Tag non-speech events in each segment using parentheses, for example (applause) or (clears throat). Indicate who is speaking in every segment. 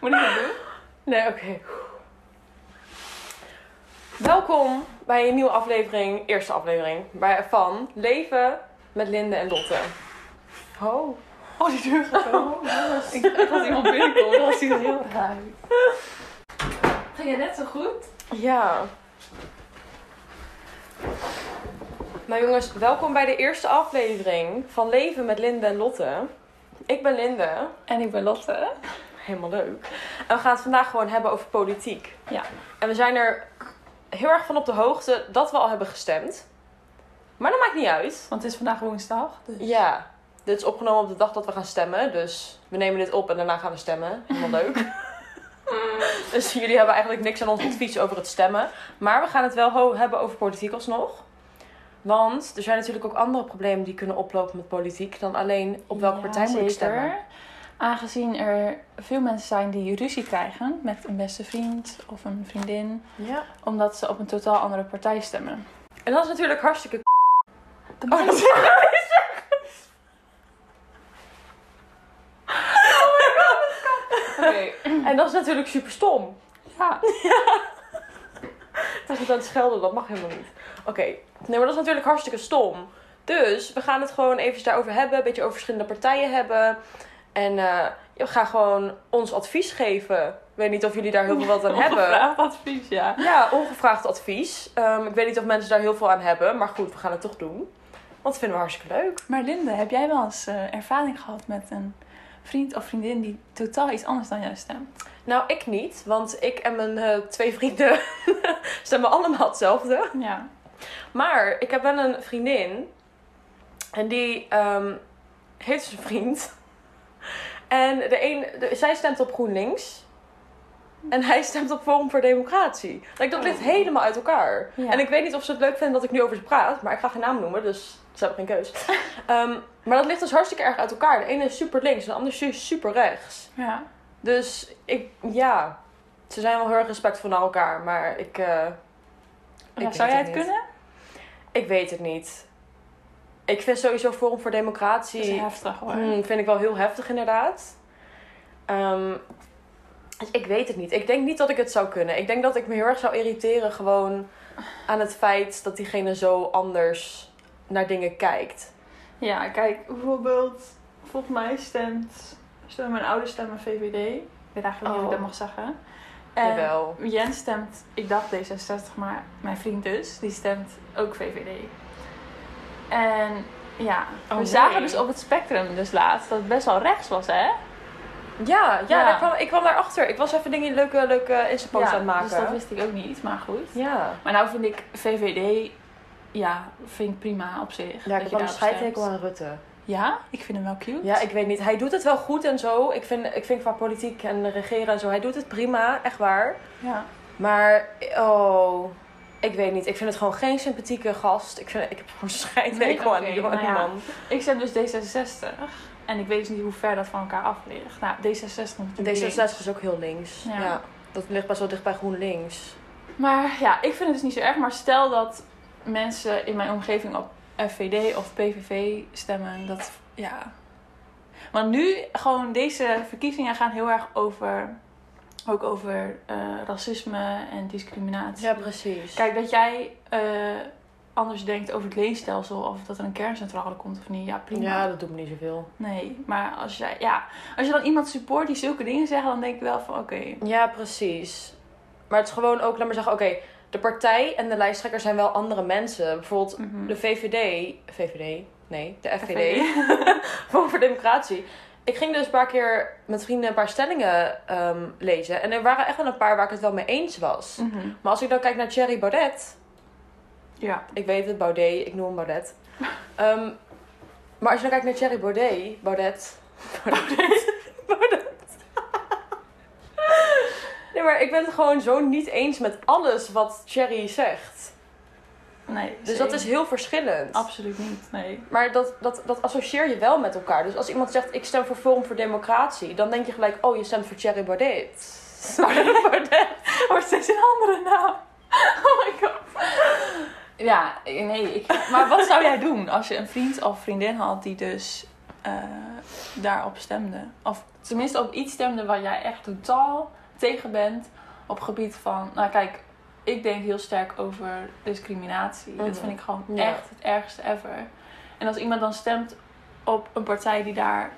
Speaker 1: Moet ik dat doen?
Speaker 2: Nee, oké. Welkom bij een nieuwe aflevering, eerste aflevering, bij- van Leven met Linde en Lotte. Oh.
Speaker 1: (laughs) Oh, die deur gaat zo.
Speaker 2: Ik dacht dat iemand binnenkomt, dat was hij heel raar.
Speaker 1: Ging het net zo goed?
Speaker 2: Ja. Nou jongens, welkom bij de eerste aflevering van Leven met Linde en Lotte. Ik ben Linde.
Speaker 1: En ik ben Lotte.
Speaker 2: Helemaal leuk. En we gaan het vandaag gewoon hebben over politiek.
Speaker 1: Ja.
Speaker 2: En we zijn er heel erg van op de hoogte dat we al hebben gestemd. Maar dat maakt niet uit.
Speaker 1: Want het is vandaag woensdag. Dus...
Speaker 2: Ja, dit is opgenomen op de dag dat we gaan stemmen. Dus we nemen dit op en daarna gaan we stemmen.
Speaker 1: (laughs)
Speaker 2: Helemaal leuk. dus jullie hebben eigenlijk niks aan ons advies over het stemmen. Maar we gaan het wel ho- hebben over politiek alsnog. Want er zijn natuurlijk ook andere problemen die kunnen oplopen met politiek dan alleen op welke
Speaker 1: Ja,
Speaker 2: partij moet ik
Speaker 1: zeker.
Speaker 2: stemmen.
Speaker 1: Aangezien er veel mensen zijn die ruzie krijgen met een beste vriend of een vriendin,
Speaker 2: Ja.
Speaker 1: omdat ze op een totaal andere partij stemmen.
Speaker 2: En dat is natuurlijk hartstikke
Speaker 1: De
Speaker 2: Oh, dat is
Speaker 1: (laughs)
Speaker 2: Oh
Speaker 1: Oké.
Speaker 2: En dat is natuurlijk super stom.
Speaker 1: Ja.
Speaker 2: Dat is aan het schelden, dat mag helemaal niet. Oké, nee, maar dat is natuurlijk hartstikke stom. Dus we gaan het gewoon even daarover hebben, een beetje over verschillende partijen hebben. En eh, we gaan gewoon ons advies geven. Ik weet niet of jullie daar heel veel wat aan hebben.
Speaker 1: Ongevraagd advies, ja.
Speaker 2: Ja, ongevraagd advies. Ehm, ik weet niet of mensen daar heel veel aan hebben, maar goed, we gaan het toch doen. Want dat vinden we hartstikke leuk.
Speaker 1: Maar Linde, heb jij wel eens eh, ervaring gehad met een vriend of vriendin die totaal iets anders dan jouw (laughs) stemt?
Speaker 2: Nou, ik niet, want ik en mijn eh, twee vrienden (laughs) stemmen allemaal hetzelfde.
Speaker 1: Ja.
Speaker 2: Maar ik heb wel een vriendin. En die ehm, heeft dus een vriend. En de een, de- zij stemt op GroenLinks. En hij stemt op Forum voor Democratie. Like, dat ligt
Speaker 1: Oh.
Speaker 2: helemaal uit elkaar.
Speaker 1: Ja.
Speaker 2: En ik weet niet of ze het leuk vinden dat ik nu over ze praat. Maar ik ga geen naam noemen, dus ze hebben
Speaker 1: (laughs)
Speaker 2: geen keus. Ehm, maar dat ligt dus hartstikke erg uit elkaar. De ene is super links en de ander is super rechts.
Speaker 1: Ja.
Speaker 2: Dus ik, ja. Ze zijn wel heel erg respectvol naar elkaar. Maar ik, eh,
Speaker 1: Ja,
Speaker 2: weet
Speaker 1: zou jij
Speaker 2: Nou, het
Speaker 1: het
Speaker 2: niet.
Speaker 1: kunnen?
Speaker 2: ik weet het niet. Ik vind sowieso Forum voor Democratie...
Speaker 1: Dat is heftig hoor.
Speaker 2: Hmm, vind ik wel heel heftig inderdaad. Ehm, dus ik weet het niet. Ik denk niet dat ik het zou kunnen. Ik denk dat ik me heel erg zou irriteren gewoon aan het feit dat diegene zo anders naar dingen kijkt.
Speaker 1: Ja, kijk, bijvoorbeeld, volgens mij stemt, stemmen mijn ouders stemmen VVD. Ik weet eigenlijk niet of ik
Speaker 2: Oh.
Speaker 1: dat mag zeggen. Eh,
Speaker 2: Jawel.
Speaker 1: Jens stemt, ik dacht D66, maar mijn vriend dus, die stemt ook VVD. En ja, we
Speaker 2: Oh, nee.
Speaker 1: zagen dus op het spectrum dus laatst dat het best wel rechts was, hè?
Speaker 2: Ja, ja,
Speaker 1: Ja.
Speaker 2: Daar kwam, ik kwam daarachter. Ik was even dingen leuke, leuke Insta-posts aan het maken.
Speaker 1: Dus dat wist ik ook niet, maar goed.
Speaker 2: Ja.
Speaker 1: Maar nou vind ik VVD, ja, vind ik prima op zich. dat
Speaker 2: Ja, ik heb
Speaker 1: je
Speaker 2: wel een
Speaker 1: daarop stemt.
Speaker 2: scheidhekel aan Rutte.
Speaker 1: Ja, ik vind hem wel cute.
Speaker 2: Ja, ik weet niet. Hij doet het wel goed en zo. Ik vind, ik vind qua politiek en regeren en zo, hij doet het prima, echt waar.
Speaker 1: ja.
Speaker 2: Maar, oh, ik weet niet. Ik vind het gewoon geen sympathieke gast. Ik, vind, ik heb gewoon scheidhekel
Speaker 1: Nee,
Speaker 2: aan die,
Speaker 1: oké,
Speaker 2: aan die
Speaker 1: nou ja.
Speaker 2: man.
Speaker 1: Ik stem dus D66. En ik weet dus niet hoe ver dat van elkaar af ligt. Nou, D66 natuurlijk
Speaker 2: D66
Speaker 1: niet.
Speaker 2: is ook heel links. Ja.
Speaker 1: Ja.
Speaker 2: Dat ligt best wel dicht bij GroenLinks.
Speaker 1: Maar ja, ik vind het dus niet zo erg. Maar stel dat mensen in mijn omgeving op FVD of PVV stemmen. Dat, ja. Want nu, gewoon deze verkiezingen gaan heel erg over... Ook over eh, racisme en discriminatie.
Speaker 2: Ja, precies.
Speaker 1: Kijk, dat jij eh, anders denkt over het leenstelsel... of dat er een kerncentrale komt of niet, ja prima.
Speaker 2: ja, dat doet me niet zoveel.
Speaker 1: Nee, maar als, jij, ja, als je dan iemand support die zulke dingen zegt, dan denk ik wel van oké.
Speaker 2: Ja, precies. Maar het is gewoon ook, laat maar zeggen, oké, de partij en de lijsttrekker zijn wel andere mensen. Bijvoorbeeld
Speaker 1: Mhm.
Speaker 2: de VVD. VVD? Nee, de FVD.
Speaker 1: FVD.
Speaker 2: (laughs) Forum voor Democratie. Ik ging dus een paar keer met vrienden een paar stellingen ehm, lezen. En er waren echt wel een paar waar ik het wel mee eens was.
Speaker 1: Mhm.
Speaker 2: Maar als ik dan kijk naar Thierry Baudet.
Speaker 1: Ja.
Speaker 2: Ik weet het, Baudet. Ik noem hem
Speaker 1: (laughs)
Speaker 2: Baudet. Ehm, maar als je dan kijkt naar Thierry Baudet. Baudet. Baudet. (laughs) Baudet. Nee, maar ik ben het gewoon zo niet eens met alles wat Thierry zegt.
Speaker 1: Nee.
Speaker 2: Dus dat is heel verschillend.
Speaker 1: Absoluut niet, nee. (laughs)
Speaker 2: Maar dat, dat, dat associeer je wel met elkaar. Dus als iemand zegt, ik stem voor Forum voor Democratie, dan denk je gelijk, oh, je stemt voor Thierry Baudet. (laughs) Thierry
Speaker 1: (laughs)
Speaker 2: Baudet.
Speaker 1: Wordt steeds een andere naam. (laughs) Oh my god. eh, Ja, nee. Ik, maar wat zou jij doen als je een vriend of vriendin had die dus eh, daarop stemde. Of tenminste op iets stemde waar jij echt totaal tegen bent. Op gebied van, nou kijk, ik denk heel sterk over discriminatie.
Speaker 2: Mhm.
Speaker 1: Dat vind ik gewoon
Speaker 2: Ja.
Speaker 1: echt het ergste ever. En als iemand dan stemt op een partij die daar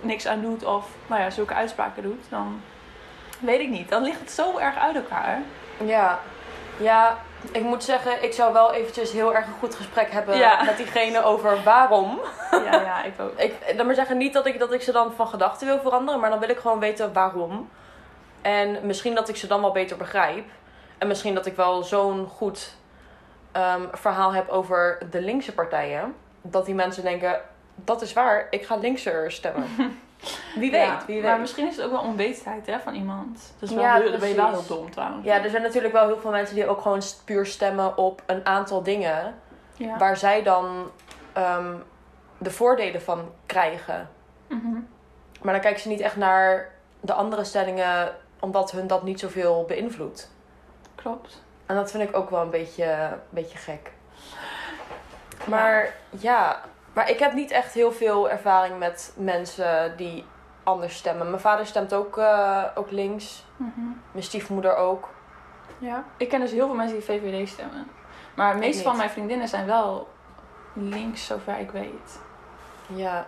Speaker 1: niks aan doet of nou ja, zulke uitspraken doet, dan weet ik niet. Dan ligt het zo erg uit elkaar.
Speaker 2: Ja. Ja, ik moet zeggen, ik zou wel eventjes heel erg een goed gesprek hebben
Speaker 1: Ja.
Speaker 2: met diegene over waarom.
Speaker 1: Ja, ja, ik (laughs) ook.
Speaker 2: Ik, dan maar zeggen, niet dat ik, dat ik ze dan van gedachten wil veranderen, maar dan wil ik gewoon weten waarom. En misschien dat ik ze dan wel beter begrijp. En misschien dat ik wel zo'n goed ehm, verhaal heb over de linkse partijen. Dat die mensen denken, dat is waar, ik ga linkser stemmen.
Speaker 1: (laughs)
Speaker 2: Wie weet,
Speaker 1: Ja,
Speaker 2: wie weet.
Speaker 1: Maar misschien is het ook wel onwetendheid hè, van iemand. Dus wel
Speaker 2: Ja,
Speaker 1: heel, dan ben je wel heel
Speaker 2: precies.
Speaker 1: dom trouwens.
Speaker 2: Ja, dus er zijn natuurlijk wel heel veel mensen die ook gewoon st- puur stemmen op een aantal dingen.
Speaker 1: Ja.
Speaker 2: Waar zij dan ehm, de voordelen van krijgen.
Speaker 1: Mhm.
Speaker 2: Maar dan kijken ze niet echt naar de andere stellingen, omdat hun dat niet zoveel beïnvloedt.
Speaker 1: Klopt.
Speaker 2: En dat vind ik ook wel een beetje, een beetje gek. Maar ja, maar ik heb niet echt heel veel ervaring met mensen die anders stemmen. Mijn vader stemt ook, eh, ook links,
Speaker 1: Mhm.
Speaker 2: mijn stiefmoeder ook.
Speaker 1: Ja. Ik ken dus heel veel mensen die VVD stemmen. Maar de meeste
Speaker 2: niet.
Speaker 1: van mijn vriendinnen zijn wel links, zover ik weet.
Speaker 2: Ja.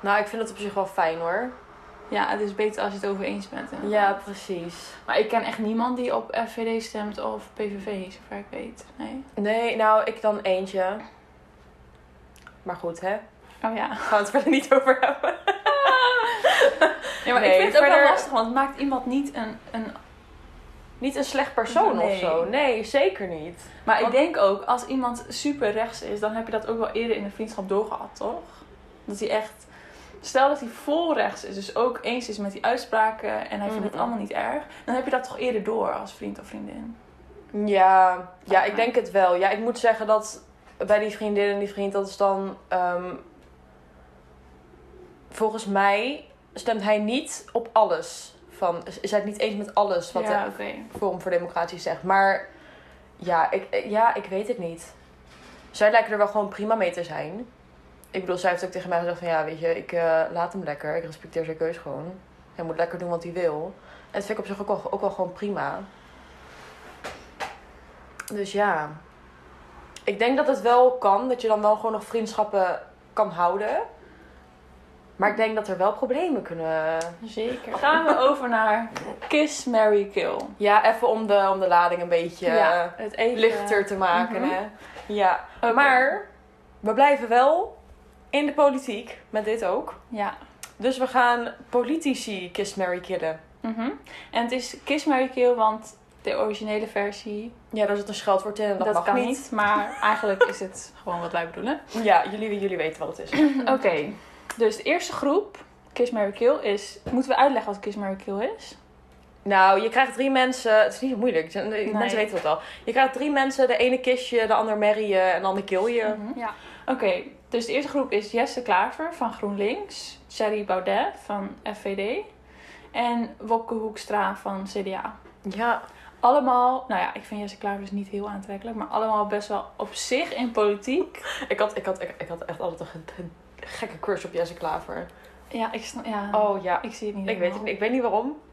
Speaker 2: Nou, ik vind het op zich wel fijn hoor.
Speaker 1: Ja, het is beter als je het over eens bent. hè.
Speaker 2: Ja, precies.
Speaker 1: Maar ik ken echt niemand die op FVD stemt of PVV, zover ik weet. Nee.
Speaker 2: Nee, nou, ik dan eentje. Maar goed, hè?
Speaker 1: Oh ja. (laughs)
Speaker 2: Gaan we het verder niet over hebben.
Speaker 1: Nee, maar
Speaker 2: Nee,
Speaker 1: ik vind het ook
Speaker 2: verder-
Speaker 1: wel lastig, want het maakt iemand niet een... een...
Speaker 2: Niet een slecht persoon of
Speaker 1: Nee.
Speaker 2: zo. Nee, zeker niet.
Speaker 1: Maar ik
Speaker 2: Want-
Speaker 1: denk ook, als iemand super rechts is, dan heb je dat ook wel eerder in een vriendschap doorgehad, toch? Dat hij echt... Stel dat hij vol rechts is, dus ook eens is met die uitspraken en hij vindt het
Speaker 2: Mhm.
Speaker 1: allemaal niet erg. Dan heb je dat toch eerder door als vriend of vriendin.
Speaker 2: Ja, ja, ik denk het wel. Ja, ik moet zeggen dat bij die vriendin en die vriend, dat is dan. ehm, volgens mij stemt hij niet op alles. Van, is is hij het niet eens met alles wat
Speaker 1: ja,
Speaker 2: de
Speaker 1: oké.
Speaker 2: Forum voor Democratie zegt. Maar ja ik, eh, ja, ik weet het niet. Zij lijken er wel gewoon prima mee te zijn. Ik bedoel, zij heeft ook tegen mij gezegd van ja, weet je, ik eh, laat hem lekker. Ik respecteer zijn keus gewoon. Hij moet lekker doen wat hij wil. En dat vind ik op zich ook wel, ook wel gewoon prima. Dus ja. Ik denk dat het wel kan, dat je dan wel gewoon nog vriendschappen kan houden. Maar ik denk dat er wel problemen kunnen.
Speaker 1: Zeker. Gaan we over naar Kiss, Mary, Kill.
Speaker 2: Ja, even om de, om de lading een beetje. eh,
Speaker 1: het even...
Speaker 2: lichter te maken.
Speaker 1: Mhm.
Speaker 2: Hè? Ja.
Speaker 1: Oké.
Speaker 2: Maar we blijven wel in de politiek met dit ook.
Speaker 1: Ja.
Speaker 2: Dus we gaan politici kiss, marry, killen.
Speaker 1: Mhm. En het is Kiss, Mary, Kill, want de originele versie,
Speaker 2: Ja, daar zit een scheldwoord in en dat,
Speaker 1: dat,
Speaker 2: mag
Speaker 1: kan niet.
Speaker 2: niet.
Speaker 1: Maar eigenlijk is
Speaker 2: (laughs)
Speaker 1: het gewoon wat wij bedoelen.
Speaker 2: Ja, jullie, jullie weten wat het is. (clears throat)
Speaker 1: Oké. Dus de eerste groep, Kiss, Mary, Kill, is... Moeten we uitleggen wat Kiss, Mary, Kill is? Nou,
Speaker 2: nou, je krijgt drie mensen... Het is niet zo moeilijk, de mensen weten dat al. Je krijgt drie mensen, de ene kiss je, de ander marry je en de ander kill je.
Speaker 1: Mhm. Ja. Oké, dus de eerste groep is Jesse Klaver van GroenLinks, Thierry Baudet van FVD en Wopke Hoekstra van CDA.
Speaker 2: Ja.
Speaker 1: Allemaal, nou ja, ik vind Jesse Klaver dus niet heel aantrekkelijk, maar allemaal best wel op zich in politiek.
Speaker 2: Ik had, ik had, ik, ik had echt altijd een, ge- een gekke crush op Jesse Klaver.
Speaker 1: Ja, ik, snap- ja,
Speaker 2: Oh ja,
Speaker 1: ik zie het niet.
Speaker 2: ik weet het
Speaker 1: helemaal.
Speaker 2: niet. Ik weet niet waarom. (laughs)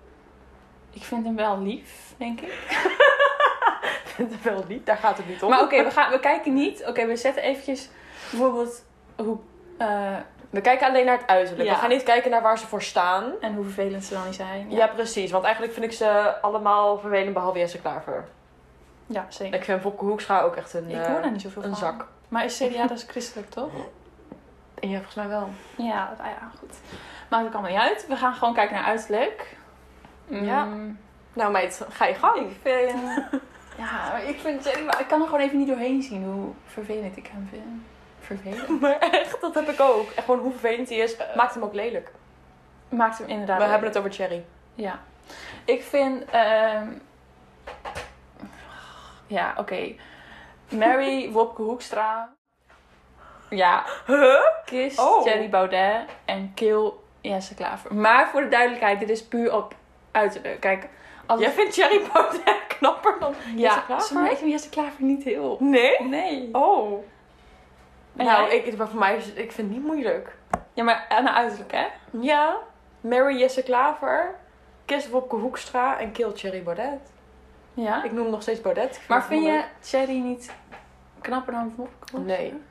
Speaker 1: Ik vind hem wel lief, denk ik.
Speaker 2: wel niet, daar gaat het niet om.
Speaker 1: Maar oké, we we, we kijken niet. Oké, we zetten eventjes bijvoorbeeld hoe, eh,
Speaker 2: we kijken alleen naar het uiterlijk.
Speaker 1: Ja.
Speaker 2: We gaan niet kijken naar waar ze voor staan.
Speaker 1: en hoe vervelend ze dan niet zijn.
Speaker 2: Ja, precies. Want eigenlijk vind ik ze allemaal vervelend behalve Jesse Klaver.
Speaker 1: ja zeker.
Speaker 2: Ik vind Wopke Hoekstra ook echt een,
Speaker 1: Ik
Speaker 2: eh,
Speaker 1: hoor daar niet zoveel
Speaker 2: een
Speaker 1: van.
Speaker 2: zak.
Speaker 1: Maar is CDA, dat is christelijk toch?
Speaker 2: Ja, volgens mij wel.
Speaker 1: Ja, nou ja, goed. Maakt ook allemaal niet uit. We gaan gewoon kijken naar uiterlijk.
Speaker 2: Ja.
Speaker 1: Mm,
Speaker 2: Nou meid, ga je gang.
Speaker 1: Ik vind... Ja, maar ik vind... maar Ik kan er gewoon even niet doorheen zien hoe vervelend ik hem vind. Vervelend.
Speaker 2: (laughs) Maar echt, dat heb ik ook. Echt gewoon hoe vervelend hij is.
Speaker 1: Eh.
Speaker 2: Maakt hem ook lelijk.
Speaker 1: Maakt hem inderdaad...
Speaker 2: We hebben het over Cherry.
Speaker 1: Ja. Ik vind... ehm, Ja, oké. (laughs) Mary Wopke Hoekstra. Ja.
Speaker 2: Huh?
Speaker 1: Kiss
Speaker 2: Oh.
Speaker 1: Jenny Baudet en Kill Jesse Klaver. Maar voor de duidelijkheid, dit is puur op uiterlijk. Kijk, als
Speaker 2: Jij vindt Cherry Baudet (laughs) knapper dan Jesse
Speaker 1: Ja,
Speaker 2: Klaver?
Speaker 1: ze lijkt me Jesse Klaver niet heel.
Speaker 2: Nee? Nou,
Speaker 1: Nee.
Speaker 2: Oh.
Speaker 1: En
Speaker 2: nou,
Speaker 1: jij?
Speaker 2: ik, maar voor mij is, ik vind het niet moeilijk.
Speaker 1: Ja, maar aan de uiterlijk, hè?
Speaker 2: Ja, Mary Jesse Klaver, Kirsten Wopke Hoekstra en Kill Thierry Baudet.
Speaker 1: Ja.
Speaker 2: Ik noem hem nog steeds Baudet. Ik
Speaker 1: Maar
Speaker 2: het
Speaker 1: vind
Speaker 2: moeilijk.
Speaker 1: je Cherry niet knapper dan Wopke Hoekstra?
Speaker 2: Nee.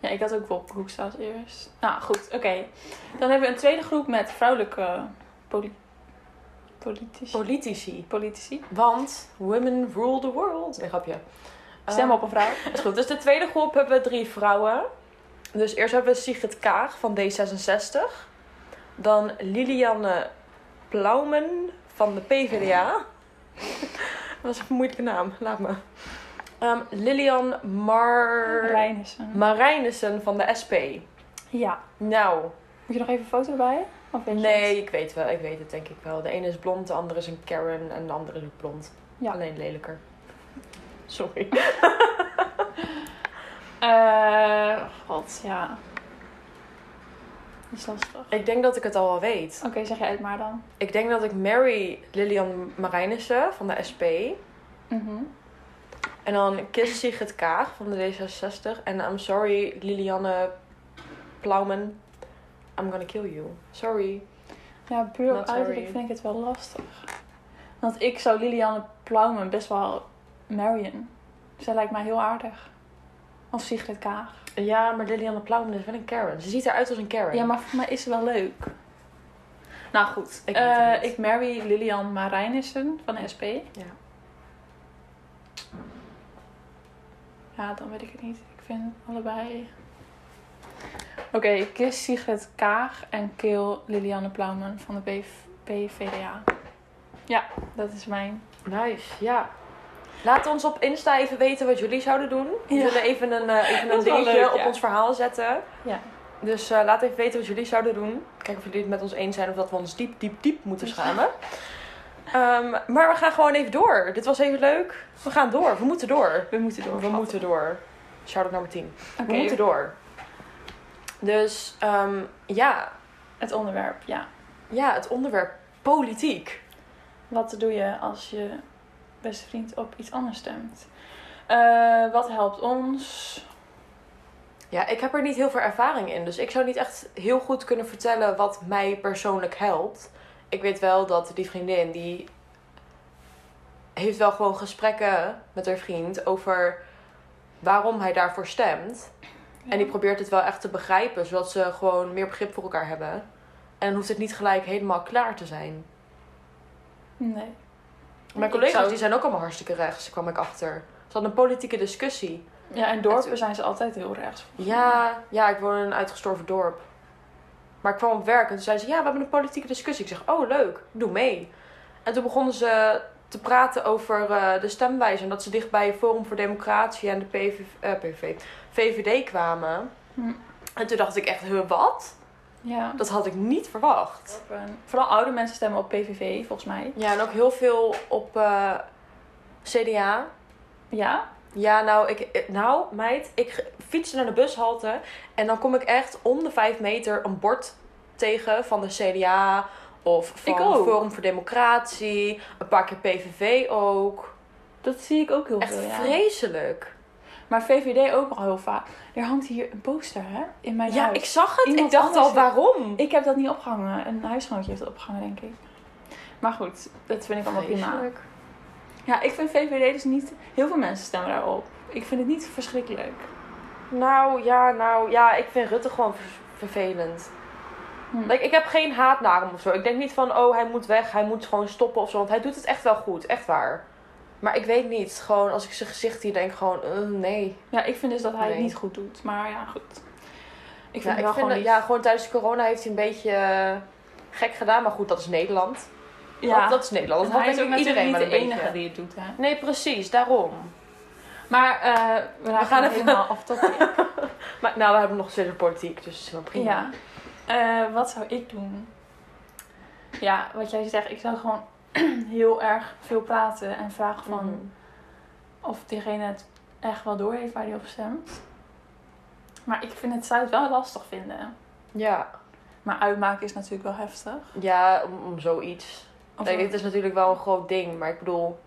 Speaker 1: Ja, ik had ook Wopke Hoekstra als eerst. Nou, goed. Oké. Dan hebben we een tweede groep met vrouwelijke poli- politici.
Speaker 2: Politici.
Speaker 1: politici.
Speaker 2: Want women rule the world. Nee, grapje.
Speaker 1: Stem
Speaker 2: Eh,
Speaker 1: op een vrouw.
Speaker 2: Is goed. Dus de tweede groep hebben we drie vrouwen. Dus eerst hebben we Sigrid Kaag van D66. Dan Liliane Plaumen van de PvdA. (laughs) Dat is een moeilijke naam, laat me. Ehm, Lilian Mar...
Speaker 1: Reinissen.
Speaker 2: Marijnissen van de SP.
Speaker 1: Ja.
Speaker 2: Nou,
Speaker 1: Moet je nog even een foto erbij? Of weet je het?
Speaker 2: nee, ik weet wel. Ik weet het denk ik wel. De ene is blond, de andere is een Karen en de andere is ook blond.
Speaker 1: Ja.
Speaker 2: Alleen lelijker. Sorry.
Speaker 1: Eh, god, ja. Dat is lastig.
Speaker 2: Ik denk dat ik het al wel weet.
Speaker 1: Oké, zeg jij het maar dan.
Speaker 2: Ik denk dat ik Mary Lilian Marijnissen van de SP.
Speaker 1: Mhm.
Speaker 2: En dan Kiss Sigrid Kaag van de D66. En I'm sorry Lilianne Plaumen. I'm gonna kill you. Sorry.
Speaker 1: Ja, puur op
Speaker 2: Not sorry.
Speaker 1: uiterlijk vind ik het wel lastig. Want ik zou Liliane Plaumen best wel marryen. Zij lijkt mij heel aardig. Als Sigrid Kaag.
Speaker 2: Ja, maar Lilianne Plaumen is wel een Karen. Ze ziet eruit als een Karen.
Speaker 1: Ja, maar voor mij is ze wel leuk. Nou goed,
Speaker 2: Ik
Speaker 1: ik,
Speaker 2: weet het
Speaker 1: eh,
Speaker 2: niet.
Speaker 1: ik marry Lilian Marijnissen van de SP.
Speaker 2: Ja.
Speaker 1: Ja, dan weet ik het niet. Ik vind allebei... Oké, kies Sigrid Kaag en kill Liliane Plaumen van de BV PVDA. Ja, dat is mijn.
Speaker 2: Nice, ja. Laat ons op Insta even weten wat jullie zouden doen. We
Speaker 1: Ja.
Speaker 2: willen even een, eh, even
Speaker 1: (laughs)
Speaker 2: een
Speaker 1: Dat is wel
Speaker 2: dingetje
Speaker 1: leuk,
Speaker 2: op
Speaker 1: ja.
Speaker 2: ons verhaal zetten.
Speaker 1: Ja.
Speaker 2: Dus eh, laat even weten wat jullie zouden doen. Kijk of jullie het met ons eens zijn of dat we ons diep, diep, diep moeten schamen. Ehm, maar we gaan gewoon even door. Dit was even leuk. We gaan door. We moeten door.
Speaker 1: We moeten door.
Speaker 2: We moeten door. Shout-out nummer 10.
Speaker 1: Oké,
Speaker 2: We moeten door. Dus ehm, ja.
Speaker 1: het onderwerp, ja.
Speaker 2: ja, het onderwerp politiek.
Speaker 1: Wat doe je als je beste vriend op iets anders stemt? Eh, wat helpt ons?
Speaker 2: Ja, ik heb er niet heel veel ervaring in. Dus ik zou niet echt heel goed kunnen vertellen wat mij persoonlijk helpt. Ik weet wel dat die vriendin, die heeft wel gewoon gesprekken met haar vriend over waarom hij daarvoor stemt. En die probeert het wel echt te begrijpen, zodat ze gewoon meer begrip voor elkaar hebben. En dan hoeft het niet gelijk helemaal klaar te zijn.
Speaker 1: Nee.
Speaker 2: Mijn
Speaker 1: Ik
Speaker 2: collega's
Speaker 1: zou-
Speaker 2: die zijn ook allemaal hartstikke rechts, kwam ik achter. Ze hadden een politieke discussie.
Speaker 1: Ja, in dorpen zijn ze altijd heel rechts. volgens mij.
Speaker 2: Ja, ja, ik woon in een uitgestorven dorp. Maar ik kwam op werk en toen zei ze: Ja, we hebben een politieke discussie. Ik zeg: Oh, leuk, ik doe mee. En toen begonnen ze te praten over eh, de stemwijze. En dat ze dichtbij Forum voor Democratie en de PV, eh, PV, VVD kwamen.
Speaker 1: Hm.
Speaker 2: En toen dacht ik echt: huh, Wat?
Speaker 1: Ja.
Speaker 2: Dat had ik niet verwacht.
Speaker 1: Dorpen. Vooral oude mensen stemmen op PVV, volgens mij.
Speaker 2: Ja, en ook heel veel op eh, CDA.
Speaker 1: Ja?
Speaker 2: Ja, nou, ik, ik- nou, meid, ik fiets naar de bushalte en dan kom ik echt om de vijf meter een bord tegen van de CDA of van
Speaker 1: Ik ook.
Speaker 2: Forum voor Democratie, een paar keer PVV ook.
Speaker 1: Dat zie ik ook heel
Speaker 2: Echt
Speaker 1: veel, ja.
Speaker 2: vreselijk.
Speaker 1: Maar VVD ook al heel vaak. Er hangt hier een poster, hè? In mijn
Speaker 2: Ja,
Speaker 1: huis.
Speaker 2: ik zag het.
Speaker 1: nou, Iemand
Speaker 2: ik dacht
Speaker 1: anders
Speaker 2: al, waarom?
Speaker 1: Ik heb dat niet opgehangen. Een huisgenootje heeft het opgehangen, denk ik. Maar goed, dat vind ik allemaal prima.
Speaker 2: Vreselijk.
Speaker 1: Ja, ik vind VVD dus niet... Heel veel mensen stemmen daarop. Ik vind het niet verschrikkelijk.
Speaker 2: Nou, ja, nou, ja, ik vind Rutte gewoon ver- vervelend.
Speaker 1: Hm.
Speaker 2: Like, ik heb geen haat naar hem of zo. Ik denk niet van, oh, hij moet weg, hij moet gewoon stoppen of zo. Want hij doet het echt wel goed, echt waar. Maar ik weet niet, gewoon als ik zijn gezicht hier denk, ik gewoon, eh, nee.
Speaker 1: Ja, ik vind dus dat hij het
Speaker 2: Nee.
Speaker 1: niet goed doet. Maar ja, goed. Ik vind
Speaker 2: Ja,
Speaker 1: het wel
Speaker 2: ik vind,
Speaker 1: gewoon
Speaker 2: dat- ja, gewoon tijdens de corona heeft hij een beetje eh, gek gedaan. Maar goed, dat is Nederland.
Speaker 1: lief.
Speaker 2: Dat, dat is Nederland. Dat
Speaker 1: En
Speaker 2: had
Speaker 1: Dus hij is
Speaker 2: denk
Speaker 1: ook
Speaker 2: ik iedereen
Speaker 1: natuurlijk
Speaker 2: wel
Speaker 1: niet
Speaker 2: een
Speaker 1: de enige
Speaker 2: beetje.
Speaker 1: die het doet, hè.
Speaker 2: Nee, precies, daarom.
Speaker 1: Maar eh, we,
Speaker 2: gaan
Speaker 1: gaan
Speaker 2: even-
Speaker 1: helemaal (laughs) af topic.
Speaker 2: Maar nou, we hebben nog steeds een politiek, dus het is wel prima.
Speaker 1: ja. Eh, wat zou ik doen? Ja, wat jij zegt. Ik zou gewoon (clears throat) heel erg veel praten. En vragen van
Speaker 2: Mhm.
Speaker 1: of diegene het echt wel door heeft waar hij op stemt. Maar ik vind het zou het wel lastig vinden.
Speaker 2: Ja,
Speaker 1: Maar uitmaken is natuurlijk wel heftig.
Speaker 2: ja om, om zoiets.
Speaker 1: Of-
Speaker 2: Kijk, het is natuurlijk wel een groot ding, maar ik bedoel,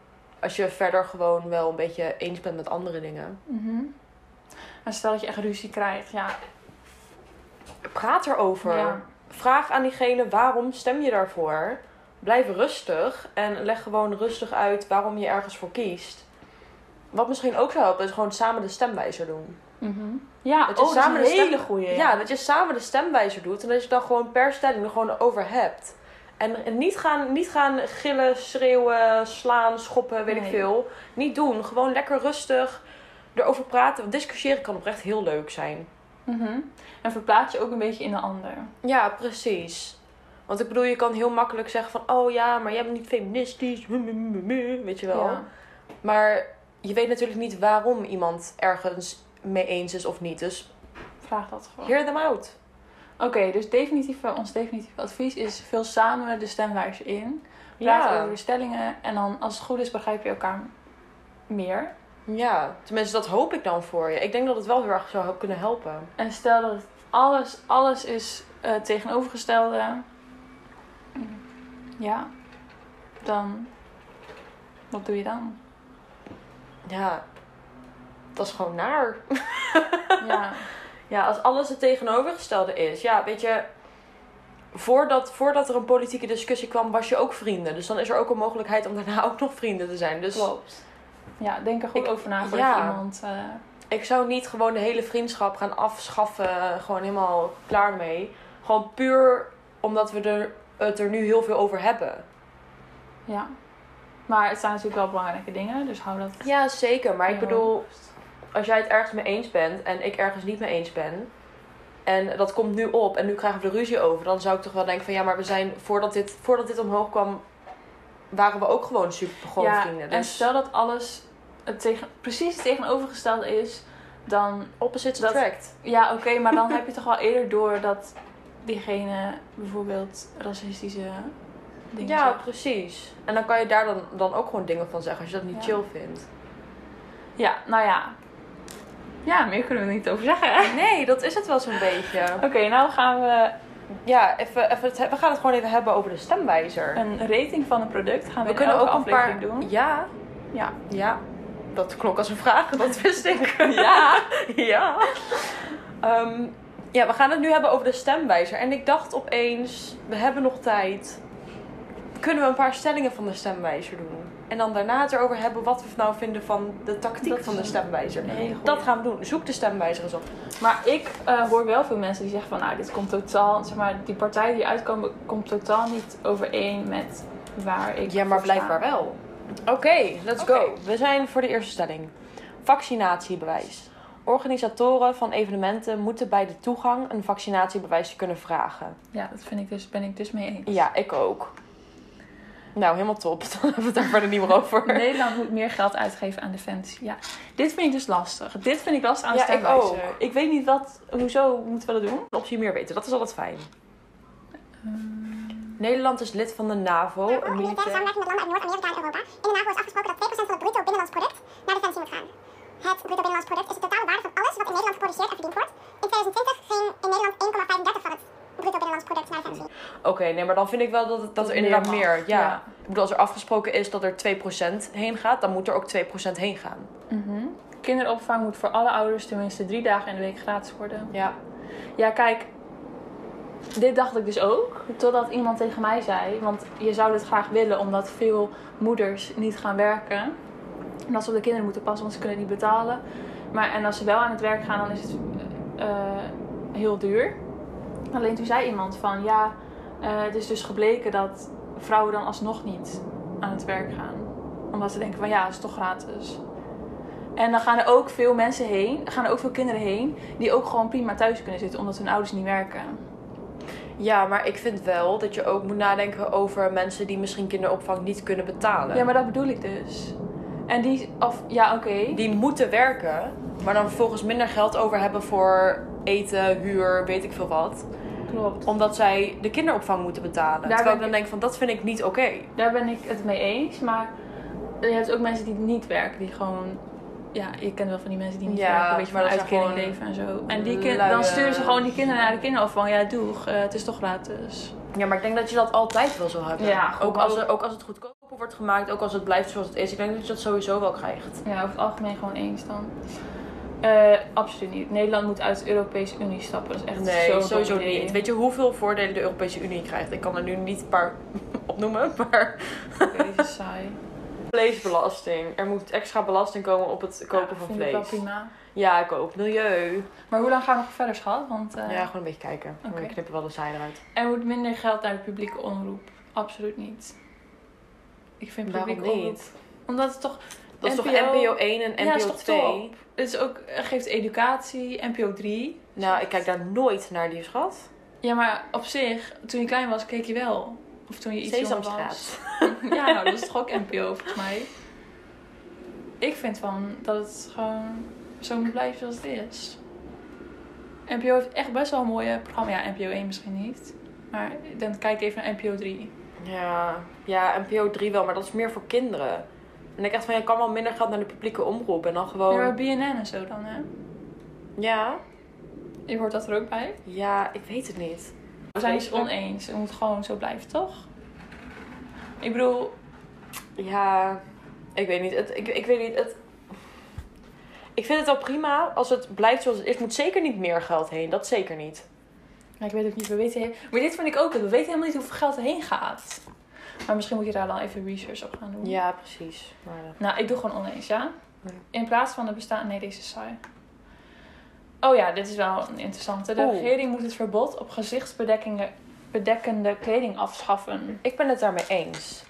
Speaker 2: als je verder gewoon wel een beetje eens bent met andere dingen.
Speaker 1: Mhm. Maar stel dat je echt ruzie krijgt, ja.
Speaker 2: Praat erover.
Speaker 1: Ja.
Speaker 2: Vraag aan diegene waarom stem je daarvoor. Blijf rustig en leg gewoon rustig uit waarom je ergens voor kiest. Wat misschien ook zou helpen is gewoon samen de stemwijzer doen.
Speaker 1: Mhm. Ja,
Speaker 2: Dat
Speaker 1: dat
Speaker 2: je
Speaker 1: is, oh,
Speaker 2: samen
Speaker 1: dat is
Speaker 2: de
Speaker 1: een
Speaker 2: stem-
Speaker 1: hele goeie.
Speaker 2: Ja, dat je samen de stemwijzer doet en dat je het dan gewoon per stelling er gewoon over hebt. En en niet gaan, niet gaan gillen, schreeuwen, slaan, schoppen, weet ik
Speaker 1: Nee.
Speaker 2: veel. Niet doen. Gewoon lekker rustig erover praten. Want discussiëren kan oprecht heel leuk zijn.
Speaker 1: Mhm. En verplaats je ook een beetje in de ander.
Speaker 2: Ja, precies. Want ik bedoel, je kan heel makkelijk zeggen van... Oh ja, maar jij bent niet feministisch. Weet je wel.
Speaker 1: Ja.
Speaker 2: Maar je weet natuurlijk niet waarom iemand ergens mee eens is of niet. Dus
Speaker 1: Vraag dat gewoon.
Speaker 2: hear them out.
Speaker 1: Oké, dus definitieve, ons definitieve advies is veel samen de stemwijzer in. Praat
Speaker 2: Ja.
Speaker 1: over de stellingen en dan als het goed is begrijp je elkaar meer.
Speaker 2: Ja, tenminste, dat hoop ik dan voor je. Ik denk dat het wel heel erg zou kunnen helpen.
Speaker 1: En stel dat het alles, alles is eh, het tegenovergestelde. mm, Ja, dan wat doe je
Speaker 2: (laughs)
Speaker 1: dan?
Speaker 2: Ja, dat is gewoon naar.
Speaker 1: ja.
Speaker 2: Ja, als alles het tegenovergestelde is. Ja, weet je, voordat, voordat er een politieke discussie kwam, was je ook vrienden. Dus dan is er ook een mogelijkheid om daarna (laughs) ook nog vrienden te zijn. Dus
Speaker 1: Klopt. Ja, denk er goed
Speaker 2: Ik-
Speaker 1: over na voordat
Speaker 2: ja.
Speaker 1: je iemand... eh,
Speaker 2: ik zou niet gewoon de hele vriendschap gaan afschaffen. Gewoon helemaal klaar mee. Gewoon puur omdat we er, het er nu heel veel over hebben.
Speaker 1: ja. Maar het zijn natuurlijk wel belangrijke dingen, dus hou dat...
Speaker 2: Ja, zeker. Maar ik
Speaker 1: Ja.
Speaker 2: bedoel, als jij het ergens mee eens bent en ik ergens niet mee eens ben. En dat komt nu op en nu krijgen we er ruzie over. Dan zou ik toch wel denken van ja, maar we zijn voordat dit, voordat dit omhoog kwam, waren we ook gewoon super gewoon
Speaker 1: ja, En
Speaker 2: vrienden. Dus
Speaker 1: stel dat alles het tegen, precies het tegenovergestelde is, dan...
Speaker 2: opposites
Speaker 1: dat-
Speaker 2: attract.
Speaker 1: Ja, oké, maar dan heb je toch wel eerder door dat diegene bijvoorbeeld racistische dingen
Speaker 2: Ja,
Speaker 1: zegt.
Speaker 2: precies. En dan kan je daar dan, dan ook gewoon dingen van zeggen als je dat niet
Speaker 1: Ja.
Speaker 2: chill
Speaker 1: (laughs)
Speaker 2: vindt.
Speaker 1: Ja, nou ja. Ja, meer kunnen we er niet over zeggen. hè?
Speaker 2: Nee, dat is het wel zo'n beetje.
Speaker 1: Oké, nou gaan we
Speaker 2: Ja, even, even het, he- we gaan het gewoon even hebben over de stemwijzer.
Speaker 1: een rating van een product gaan we,
Speaker 2: we
Speaker 1: in
Speaker 2: kunnen ook
Speaker 1: elke
Speaker 2: een paar.
Speaker 1: aflevering doen.
Speaker 2: Ja,
Speaker 1: Ja.
Speaker 2: ja. Dat klonk als een vraag, dat wist ik.
Speaker 1: (laughs) Ja.
Speaker 2: (laughs) ja. Ehm, ja, we gaan het nu hebben over de stemwijzer. En ik dacht opeens, we hebben nog tijd. Kunnen we een paar stellingen van de stemwijzer doen? En dan daarna het erover hebben wat we nou vinden van de tactiek
Speaker 1: Dat is
Speaker 2: van de
Speaker 1: een
Speaker 2: stemwijzer.
Speaker 1: hele goeie.
Speaker 2: Dat gaan we doen. Zoek de stemwijzer eens op.
Speaker 1: Maar ik eh, hoor wel veel mensen die zeggen van, nou, dit komt totaal, zeg maar, die partijen die uitkomen, komt totaal niet overeen met waar ik
Speaker 2: Ja, maar
Speaker 1: voor sta.
Speaker 2: blijkbaar wel. Oké, let's
Speaker 1: Oké.
Speaker 2: go. We zijn voor de eerste stelling. Vaccinatiebewijs. Organisatoren van evenementen moeten bij de toegang een vaccinatiebewijs kunnen vragen.
Speaker 1: Ja, dat vind ik dus, ben ik dus mee eens.
Speaker 2: Ja, ik ook. Nou, helemaal top. (laughs) Dan hebben we het daar verder niet meer over. (laughs)
Speaker 1: Nederland moet meer geld uitgeven aan defensie. Ja, dit vind ik dus lastig. Dit vind ik lastig aan de
Speaker 2: Ja, ik
Speaker 1: stemwijzer.
Speaker 2: ook.
Speaker 1: Ik weet niet wat, hoezo moeten we dat doen?
Speaker 2: Een optie meer weten, dat is altijd fijn.
Speaker 1: Ehm.
Speaker 2: Nederland is lid van de NAVO,
Speaker 1: oh,
Speaker 2: een
Speaker 3: militaire
Speaker 2: militair...
Speaker 3: samenwerking met landen uit Noord-Amerika en Europa. In de NAVO is afgesproken dat 2% van het bruto binnenlands product naar defensie moet gaan. Het bruto binnenlands product is de totale waarde van alles wat in Nederland geproduceerd en verdiend wordt. In 2020 ging in Nederland 1,35 van het bruto binnenlands product naar defensie.
Speaker 2: Oké, nee, maar dan vind ik wel dat, dat, er
Speaker 1: meer
Speaker 2: inderdaad
Speaker 1: mag.
Speaker 2: meer... Ja.
Speaker 1: Ja.
Speaker 2: Ik bedoel, als er afgesproken is dat er 2% heen gaat, dan moet er ook 2% heen gaan. Mhm.
Speaker 1: Kinderopvang moet voor alle ouders tenminste drie dagen in de week gratis worden.
Speaker 2: Ja.
Speaker 1: Ja, kijk, dit dacht ik dus ook. Totdat iemand tegen mij zei, want je zou dit graag willen omdat veel moeders niet gaan werken. En dat ze op de kinderen moeten passen, want ze kunnen het niet betalen. Maar en als ze wel aan het werk gaan, dan is het eh, heel duur. Alleen toen zei iemand van, ja, eh, het is dus gebleken dat vrouwen dan alsnog niet aan het werk gaan. Omdat ze denken van, ja, het is toch gratis. En dan gaan er ook veel mensen heen, gaan er ook veel kinderen heen, die ook gewoon prima thuis kunnen zitten omdat hun ouders niet werken.
Speaker 2: Ja, maar ik vind wel dat je ook moet nadenken over mensen die misschien kinderopvang niet kunnen betalen.
Speaker 1: Ja, maar dat bedoel ik dus. En die, of ja, oké.
Speaker 2: Die moeten werken, maar dan vervolgens minder geld over hebben voor eten, huur, weet ik veel wat.
Speaker 1: Klopt.
Speaker 2: Omdat zij de kinderopvang moeten betalen.
Speaker 1: Daar
Speaker 2: Terwijl
Speaker 1: ben
Speaker 2: ik dan
Speaker 1: ik-
Speaker 2: denk van, dat vind ik niet oké.
Speaker 1: Daar ben ik het mee eens, maar je hebt ook mensen die niet werken, die gewoon. Ja, je kent wel van die mensen die niet
Speaker 2: Ja,
Speaker 1: werken, een beetje
Speaker 2: maar
Speaker 1: van
Speaker 2: dat zijn
Speaker 1: uitkering
Speaker 2: gewoon
Speaker 1: leven en zo. En die kind,
Speaker 2: luie-
Speaker 1: dan sturen ze gewoon die kinderen naar de kinderopvang. Ja, doeg, eh, het is toch gratis.
Speaker 2: Ja, maar ik denk dat je dat altijd wel zal hebben.
Speaker 1: Ja, goed,
Speaker 2: ook, als
Speaker 1: maar-
Speaker 2: er, ook als het goedkoper wordt gemaakt, ook als het blijft zoals het is. Ik denk dat je dat sowieso wel krijgt.
Speaker 1: Ja, over het algemeen gewoon eens dan. Eh, absoluut niet. Nederland moet uit de Europese Unie stappen. Dat is echt
Speaker 2: Nee,
Speaker 1: zo dom
Speaker 2: sowieso
Speaker 1: idee.
Speaker 2: niet. Weet je hoeveel voordelen de Europese Unie krijgt? Ik kan er nu niet een paar (laughs) opnoemen, maar...
Speaker 1: Deze saai.
Speaker 2: Vleesbelasting. Er moet extra belasting komen op het kopen van
Speaker 1: vind Ik wel
Speaker 2: vlees.
Speaker 1: prima.
Speaker 2: Ja, ik ook. Milieu.
Speaker 1: Maar hoe lang gaan we nog verder, schat? Want eh,
Speaker 2: Ja, gewoon een beetje kijken.
Speaker 1: Oké.
Speaker 2: We knippen wel de saai eruit.
Speaker 1: er moet minder geld naar de publieke omroep. Absoluut niet. Ik vind
Speaker 2: Waarom
Speaker 1: publieke omroep...
Speaker 2: niet?
Speaker 1: Omdat het toch...
Speaker 2: Dat is toch
Speaker 1: NPO
Speaker 2: NPO 1 en
Speaker 1: Ja, is
Speaker 2: NPO
Speaker 1: toch
Speaker 2: 2?
Speaker 1: top? Het is ook, eh, geeft educatie, NPO 3.
Speaker 2: nou, ik kijk daar nooit naar, die schat.
Speaker 1: Ja, maar op zich, toen je klein was, keek je wel. Of toen je iets jonger was.
Speaker 2: Sesamstraat.
Speaker 1: Ja, nou, dat is toch ook NPO volgens mij. Ik vind van dat het gewoon zo moet blijven zoals het is. NPO heeft echt best wel een mooie programma. Ja, NPO 1 misschien niet. Maar dan kijk ik even naar NPO 3.
Speaker 2: Ja. ja, NPO 3 wel, maar dat is meer voor kinderen. En ik echt van, je kan wel minder geld naar de publieke omroep. En dan
Speaker 1: Ja,
Speaker 2: gewoon...
Speaker 1: maar BNN en zo dan, hè?
Speaker 2: Ja?
Speaker 1: Je hoort dat er ook bij.
Speaker 2: Ja, ik weet het niet.
Speaker 1: We zijn het oneens. Het moet gewoon zo blijven, toch? Ik bedoel,
Speaker 2: Ja, ik weet niet. Het, ik, ik weet niet. Het, ik vind het wel prima als het blijft zoals het is. moet zeker niet meer geld heen. Dat zeker niet.
Speaker 1: ja, ik weet ook niet, we weten... he- Maar dit vind ik ook, we weten helemaal niet hoeveel geld erheen gaat. Maar misschien moet je daar dan even research op gaan doen.
Speaker 2: Ja, precies. Maar, eh,
Speaker 1: Nou, ik doe gewoon oneens, ja?
Speaker 2: Nee.
Speaker 1: In plaats van de bestaan... Nee, deze is saai. Oh ja, dit is wel een interessante. De
Speaker 2: Oeh.
Speaker 1: regering moet het verbod op gezichtsbedekkende bedekkende kleding afschaffen.
Speaker 2: ik ben het daarmee eens.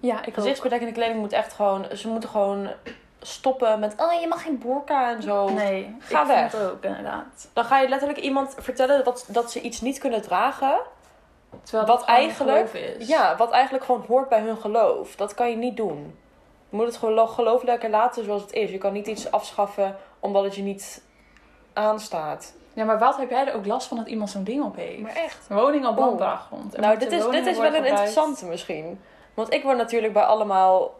Speaker 1: Ja, ik
Speaker 2: Gezichtsbedekkende kleding moet echt gewoon... Ze moeten gewoon stoppen met... Oh, je mag geen burka en zo.
Speaker 1: Nee,
Speaker 2: Ga
Speaker 1: ik
Speaker 2: weg.
Speaker 1: vind het ook, inderdaad.
Speaker 2: Dan ga je letterlijk iemand vertellen dat, dat ze iets niet kunnen dragen.
Speaker 1: Terwijl
Speaker 2: Wat
Speaker 1: dat gewoon
Speaker 2: eigenlijk-
Speaker 1: geloof is.
Speaker 2: Ja, wat eigenlijk gewoon hoort bij hun geloof. Dat kan je niet doen. Je moet het gewoon lo- geloof lekker laten zoals het is. Je kan niet iets afschaffen omdat het je niet aanstaat.
Speaker 1: ja, maar wat heb jij er ook last van dat iemand zo'n ding op heeft?
Speaker 2: Maar echt.
Speaker 1: Woning op
Speaker 2: Oeh.
Speaker 1: landbouwgrond. Er
Speaker 2: nou,
Speaker 1: moeten
Speaker 2: dit is, dit
Speaker 1: woningen
Speaker 2: is wel
Speaker 1: worden
Speaker 2: een
Speaker 1: gebouwd.
Speaker 2: interessante misschien. Want ik word natuurlijk bij allemaal...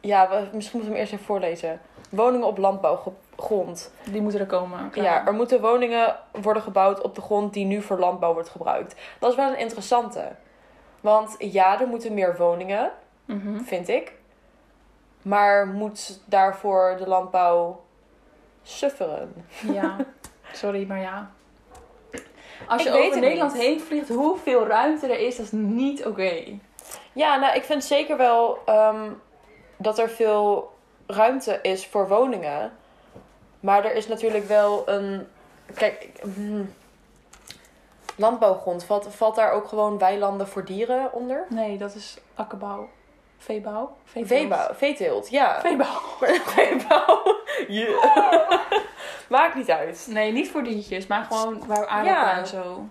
Speaker 2: Ja, we- misschien moeten we hem eerst even voorlezen. Woningen op landbouwgrond.
Speaker 1: Die moeten er komen. klaar.
Speaker 2: Ja, er moeten woningen worden gebouwd op de grond die nu voor landbouw wordt gebruikt. Dat is wel een interessante. Want ja, er moeten meer woningen.
Speaker 1: Mhm.
Speaker 2: vind ik. Maar moet daarvoor de landbouw sufferen?
Speaker 1: Ja, (laughs) sorry, maar ja. Als
Speaker 2: Ik
Speaker 1: je
Speaker 2: weet
Speaker 1: over
Speaker 2: het
Speaker 1: Nederland
Speaker 2: niet.
Speaker 1: heen vliegt, hoeveel ruimte er is, dat is niet oké.
Speaker 2: Ja, nou, ik vind zeker wel ehm, dat er veel ruimte is voor woningen. Maar er is natuurlijk wel een. Kijk, hmm, landbouwgrond. Valt, valt daar ook gewoon weilanden voor dieren onder?
Speaker 1: Nee, dat is akkerbouw. Veebouw? Veeteelt.
Speaker 2: Veebouw, veeteelt, ja.
Speaker 1: Veebouw. (laughs)
Speaker 2: (laughs) Veebouw. Yeah. (laughs) Maakt niet uit.
Speaker 1: Nee, niet voor diertjes, maar gewoon waar aardappelen
Speaker 2: Ja.
Speaker 1: en zo.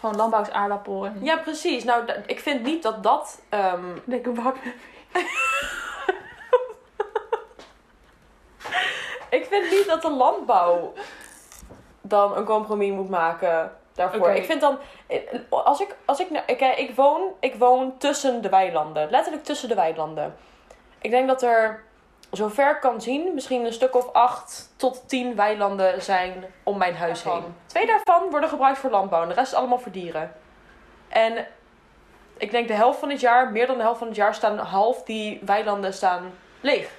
Speaker 1: Gewoon landbouws aardappel en
Speaker 2: Ja, precies. Nou, da- ik vind niet dat dat ehm,
Speaker 1: dikke bak.
Speaker 2: Ik vind niet dat de landbouw dan een compromis moet maken daarvoor.
Speaker 1: Oké.
Speaker 2: Ik vind dan, als ik, als ik, naar- ik, ik, woon, ik woon tussen de weilanden, letterlijk tussen de weilanden. Ik denk dat er, zover ik kan zien, misschien een stuk of acht tot tien weilanden zijn om mijn huis
Speaker 1: Daarvan.
Speaker 2: heen. Twee daarvan worden gebruikt voor landbouw en de rest is allemaal voor dieren. En ik denk de helft van het jaar, meer dan de helft van het jaar, staan half die weilanden staan leeg.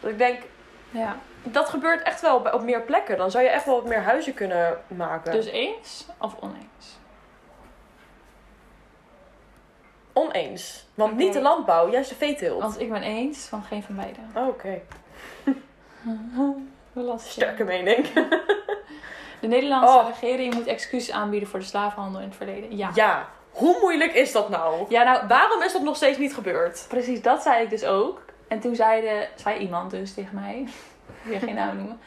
Speaker 2: Dus ik denk,
Speaker 1: Ja.
Speaker 2: dat gebeurt echt wel bij- op meer plekken. Dan zou je echt wel wat meer huizen kunnen maken.
Speaker 1: Dus
Speaker 2: Dus
Speaker 1: eens of oneens?
Speaker 2: oneens. Want
Speaker 1: Oké. Oh.
Speaker 2: niet de landbouw, juist de veeteelt. Oh,
Speaker 1: Want ik ben eens van geen van (laughs) beiden.
Speaker 2: Oké.
Speaker 1: Lastig.
Speaker 2: Sterke mening.
Speaker 1: De Nederlandse
Speaker 2: Oh.
Speaker 1: regering moet excuses aanbieden voor de slavenhandel in het verleden. Ja.
Speaker 2: Ja. Hoe moeilijk is dat nou?
Speaker 1: ja, nou,
Speaker 2: Waarom is dat nog steeds niet gebeurd?
Speaker 1: Precies, dat zei ik dus ook. En toen zeide, zei iemand dus tegen mij, ik wil geen naam noemen,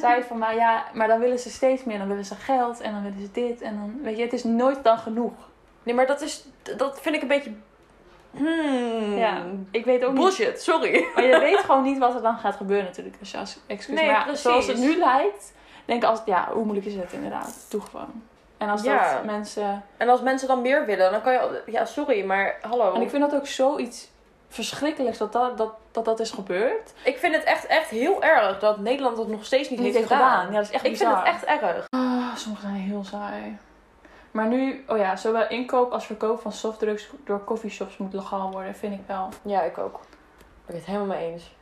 Speaker 1: zei van mij, ja, maar dan willen ze steeds meer. Dan willen ze geld en dan willen ze dit en dan, weet je, het is nooit dan genoeg.
Speaker 2: Nee, maar dat is... Dat vind ik een beetje... Hmm.
Speaker 1: Ja, ik weet ook niet.
Speaker 2: Bullshit, sorry.
Speaker 1: Maar je weet gewoon niet wat er dan gaat gebeuren natuurlijk. Dus als excuus.
Speaker 2: Nee,
Speaker 1: maar ja,
Speaker 2: precies.
Speaker 1: zoals het nu lijkt, denk ik als, ja, hoe moeilijk is het inderdaad? Doe gewoon. En als
Speaker 2: Ja.
Speaker 1: dat mensen...
Speaker 2: En als mensen dan meer willen, dan kan je... Ja, sorry, maar hallo.
Speaker 1: En ik vind dat ook zoiets verschrikkelijks dat dat, dat, dat, dat is gebeurd.
Speaker 2: Ik vind het echt, echt heel erg dat Nederland dat nog steeds niet,
Speaker 1: Niet
Speaker 2: heeft
Speaker 1: heeft
Speaker 2: gedaan.
Speaker 1: gedaan. Ja, dat is echt
Speaker 2: ik vind
Speaker 1: bizar.
Speaker 2: het echt erg.
Speaker 1: Ah, sommige zijn heel saai. Maar nu, oh ja, zowel inkoop als verkoop van softdrugs door coffeeshops moet legaal worden, vind ik wel.
Speaker 2: Ja, ik ook. Ik ben het helemaal mee eens.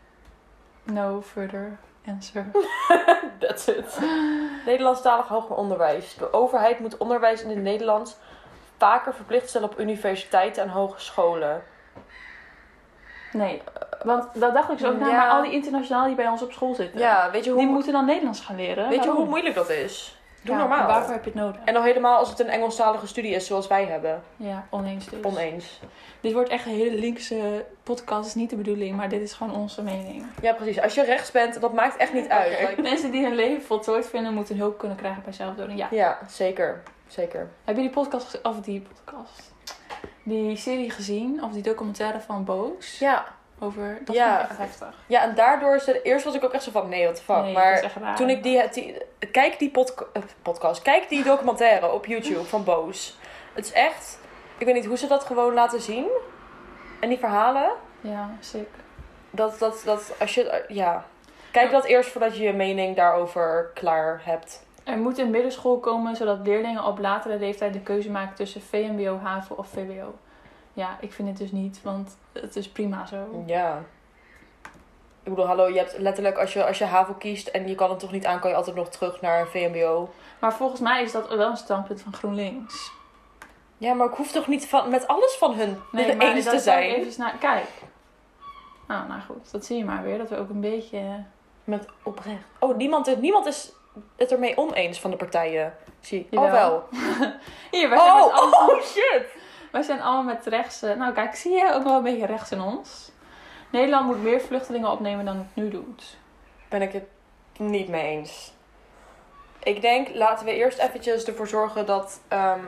Speaker 1: No further answer.
Speaker 2: (laughs) That's it. Nederlandstalig hoger onderwijs. De overheid moet onderwijs in het Nederlands vaker verplicht stellen op universiteiten en hogescholen.
Speaker 1: Nee, eh, want dat dacht ik zo ook. Nou,
Speaker 2: Ja.
Speaker 1: Maar al die internationalen die bij ons op school zitten,
Speaker 2: Ja, weet je hoe,
Speaker 1: die moeten dan Nederlands gaan leren.
Speaker 2: weet je
Speaker 1: Waarom?
Speaker 2: hoe moeilijk dat is? Doe
Speaker 1: Ja,
Speaker 2: normaal.
Speaker 1: Waarvoor heb je het nodig?
Speaker 2: En al helemaal als het een Engelstalige studie is zoals wij hebben.
Speaker 1: Ja, oneens dus.
Speaker 2: Oneens.
Speaker 1: Dit wordt echt een hele linkse podcast, is niet de bedoeling, maar dit is gewoon onze mening.
Speaker 2: Ja, precies. Als je rechts bent, dat maakt echt niet uit. Like-
Speaker 1: Mensen die hun leven voltooid vinden, moeten hulp kunnen krijgen bij zelfdoding. Ja.
Speaker 2: Ja, zeker. Zeker.
Speaker 1: Heb je die podcast, gez- of die podcast, die serie gezien? Of die documentaire van Boos?
Speaker 2: Ja.
Speaker 1: Over, dat
Speaker 2: Ja.
Speaker 1: vond ik echt heftig.
Speaker 2: Ja, en daardoor is het... Eerst was ik ook echt zo van, nee, what the fuck.
Speaker 1: Nee, dat is
Speaker 2: maar
Speaker 1: echt raar.
Speaker 2: toen ik die... die- kijk die podca- eh, podcast. Kijk die documentaire op YouTube van Boos. Het is echt... Ik weet niet hoe ze dat gewoon laten zien. En die verhalen.
Speaker 1: Ja, sick.
Speaker 2: Dat, dat, dat als je... eh, Ja. Kijk dat eerst voordat je je mening daarover klaar hebt.
Speaker 1: Er moet een middenschool komen, zodat leerlingen op latere leeftijd de keuze maken tussen VMBO, HAVO of VWO. Ja, ik vind het dus niet, want het is prima zo.
Speaker 2: Ja. Ik bedoel, hallo, je hebt letterlijk, als je, als je HAVO kiest en je kan het toch niet aan, kan je altijd nog terug naar een VMBO.
Speaker 1: Maar volgens mij is dat wel een standpunt van GroenLinks.
Speaker 2: Ja, maar ik hoef toch niet van, met alles van hun (laughs) de
Speaker 1: maar
Speaker 2: eens
Speaker 1: dat
Speaker 2: te
Speaker 1: zou ik
Speaker 2: zijn?
Speaker 1: Even naar... Kijk. Nou, nou goed, dat zie je maar weer. Dat we ook een beetje... eh,
Speaker 2: Met oprecht. Oh, niemand, is- niemand is het ermee oneens van de partijen. Zie ik. Oh,
Speaker 1: Jawel.
Speaker 2: wel.
Speaker 1: Hier, wij zijn,
Speaker 2: Oh,
Speaker 1: met allemaal,
Speaker 2: oh, shit.
Speaker 1: wij zijn allemaal met rechts... eh, Nou kijk, zie je ook wel een beetje rechts in ons. Nederland moet meer vluchtelingen opnemen dan het nu doet.
Speaker 2: Ben ik het niet mee eens. Ik denk, laten we eerst eventjes ervoor zorgen dat ehm,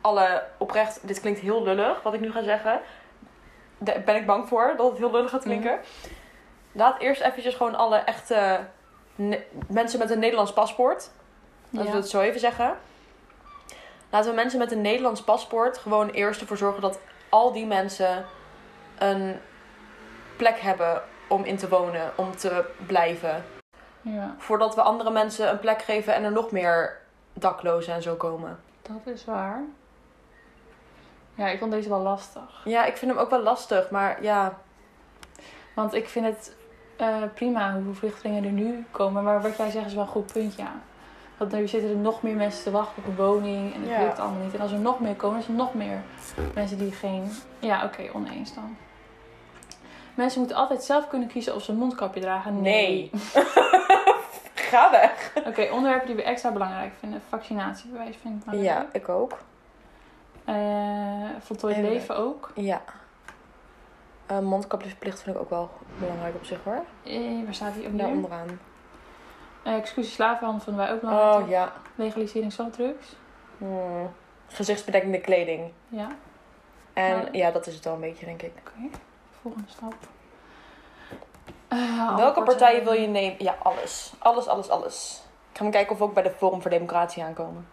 Speaker 2: alle oprecht... Dit klinkt heel lullig, wat ik nu ga zeggen. Daar ben ik bang voor, dat het heel lullig gaat klinken. Laat eerst eventjes gewoon alle echte ne- mensen met een Nederlands paspoort... Laten
Speaker 1: Ja.
Speaker 2: we het zo even zeggen. Laten we mensen met een Nederlands paspoort gewoon eerst ervoor zorgen dat al die mensen een plek hebben om in te wonen, om te blijven.
Speaker 1: ja,
Speaker 2: Voordat we andere mensen een plek geven en er nog meer daklozen en zo komen.
Speaker 1: dat is waar. Ja, ik vond deze wel lastig.
Speaker 2: Ja, ik vind hem ook wel lastig, maar ja.
Speaker 1: Want ik vind het eh, prima hoe vluchtelingen er nu komen. Maar wat jij zegt is wel een goed punt, ja. Want nu zitten er nog meer mensen te wachten op een woning. En het
Speaker 2: Ja.
Speaker 1: lukt allemaal niet. En als er nog meer komen, is er nog meer mensen die geen... Ja, oké, oneens dan. Mensen moeten altijd zelf kunnen kiezen of ze een mondkapje dragen.
Speaker 2: Nee. (laughs) Ga weg.
Speaker 1: (laughs) Oké, onderwerpen die we extra belangrijk vinden. Vaccinatiebewijs vind ik belangrijk.
Speaker 2: Ja, ik ook.
Speaker 1: Eh, voltooid
Speaker 2: En-
Speaker 1: leven ook.
Speaker 2: Ja. Eh mondkapjesplicht vind ik ook wel belangrijk op zich hoor.
Speaker 1: Eh, waar staat die op
Speaker 2: Daar
Speaker 1: neer?
Speaker 2: onderaan.
Speaker 1: Eh excuses slavenhandel vinden wij ook belangrijk.
Speaker 2: Oh ja.
Speaker 1: Legalisering softdrugs.
Speaker 2: Hmm. Gezichtsbedekkende kleding.
Speaker 1: Ja.
Speaker 2: En
Speaker 1: Maar-
Speaker 2: ja, dat is het wel een beetje, denk ik.
Speaker 1: Oké, volgende stap. Eh, alle
Speaker 2: Welke partijen wil je nemen? Ja, alles. Alles, alles, alles. Ik ga maar kijken of we ook bij de Forum voor Democratie aankomen.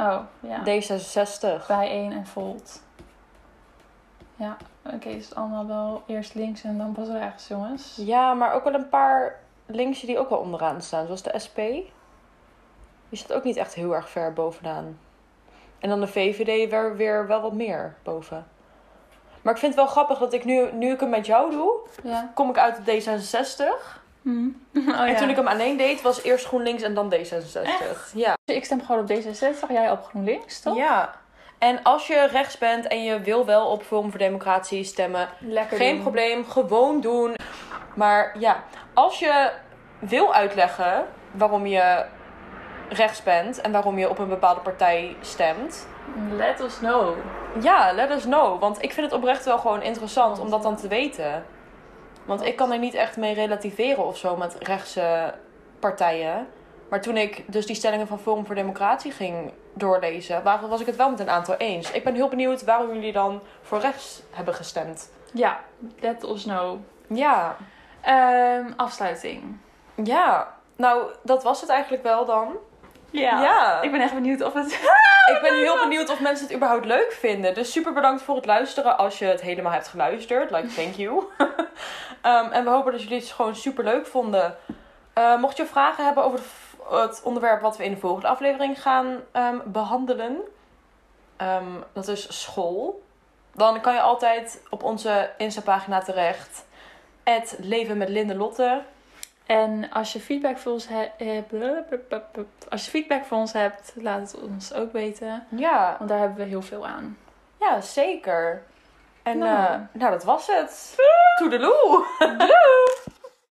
Speaker 1: Oh, ja.
Speaker 2: D66.
Speaker 1: Bijeen en Volt. Ja, oké, het is allemaal wel eerst links en dan pas rechts, jongens.
Speaker 2: Ja, maar ook wel een paar linkse die ook wel onderaan staan. Zoals de SP. Die staat ook niet echt heel erg ver bovenaan. En dan de VVD weer, weer wel wat meer boven. Maar ik vind het wel grappig dat ik nu, nu ik hem met jou doe,
Speaker 1: Ja.
Speaker 2: kom ik uit de D66.
Speaker 1: (laughs) Oh,
Speaker 2: En toen ik hem alleen deed, was eerst GroenLinks en dan D66. Ja.
Speaker 1: ik stem gewoon op D66, jij op GroenLinks, toch?
Speaker 2: Ja. En als je rechts bent en je wil wel op Forum voor Democratie stemmen,
Speaker 1: Lekker
Speaker 2: geen
Speaker 1: doen.
Speaker 2: probleem, gewoon doen. Maar ja, als je wil uitleggen waarom je rechts bent en waarom je op een bepaalde partij stemt,
Speaker 1: Let us know.
Speaker 2: ja, let us know. Want ik vind het oprecht wel gewoon interessant om dat dan te weten. Want ik kan er niet echt mee relativeren of zo met rechtse partijen. Maar toen ik dus die stellingen van Forum voor Democratie ging doorlezen, waren- was ik het wel met een aantal eens. Ik ben heel benieuwd waarom jullie dan voor rechts hebben gestemd.
Speaker 1: Ja, let us know.
Speaker 2: Ja,
Speaker 1: Ehm, afsluiting.
Speaker 2: ja. Nou, dat was het eigenlijk wel dan. Ja.
Speaker 1: Ik ben echt benieuwd of het... (laughs)
Speaker 2: Ik ben heel benieuwd of mensen het überhaupt leuk vinden. Dus super bedankt voor het luisteren als je het helemaal hebt geluisterd. Like, thank you. (laughs) Ehm, en we hopen dat jullie het gewoon super leuk vonden. Eh, mocht je vragen hebben over de v- het onderwerp wat we in de volgende aflevering gaan ehm, behandelen, ehm, dat is school, dan kan je altijd op onze Insta-pagina terecht. Het leven met Linde Lotte.
Speaker 1: En als je feedback voor ons he- eh, hebt, blablabla, als je feedback voor ons hebt, laat het ons ook weten.
Speaker 2: Ja,
Speaker 1: Want daar hebben we heel veel aan.
Speaker 2: ja zeker. En eh,
Speaker 1: Nou.
Speaker 2: nou. nou, dat was het. Toedeloe! (laughs)
Speaker 1: Doei!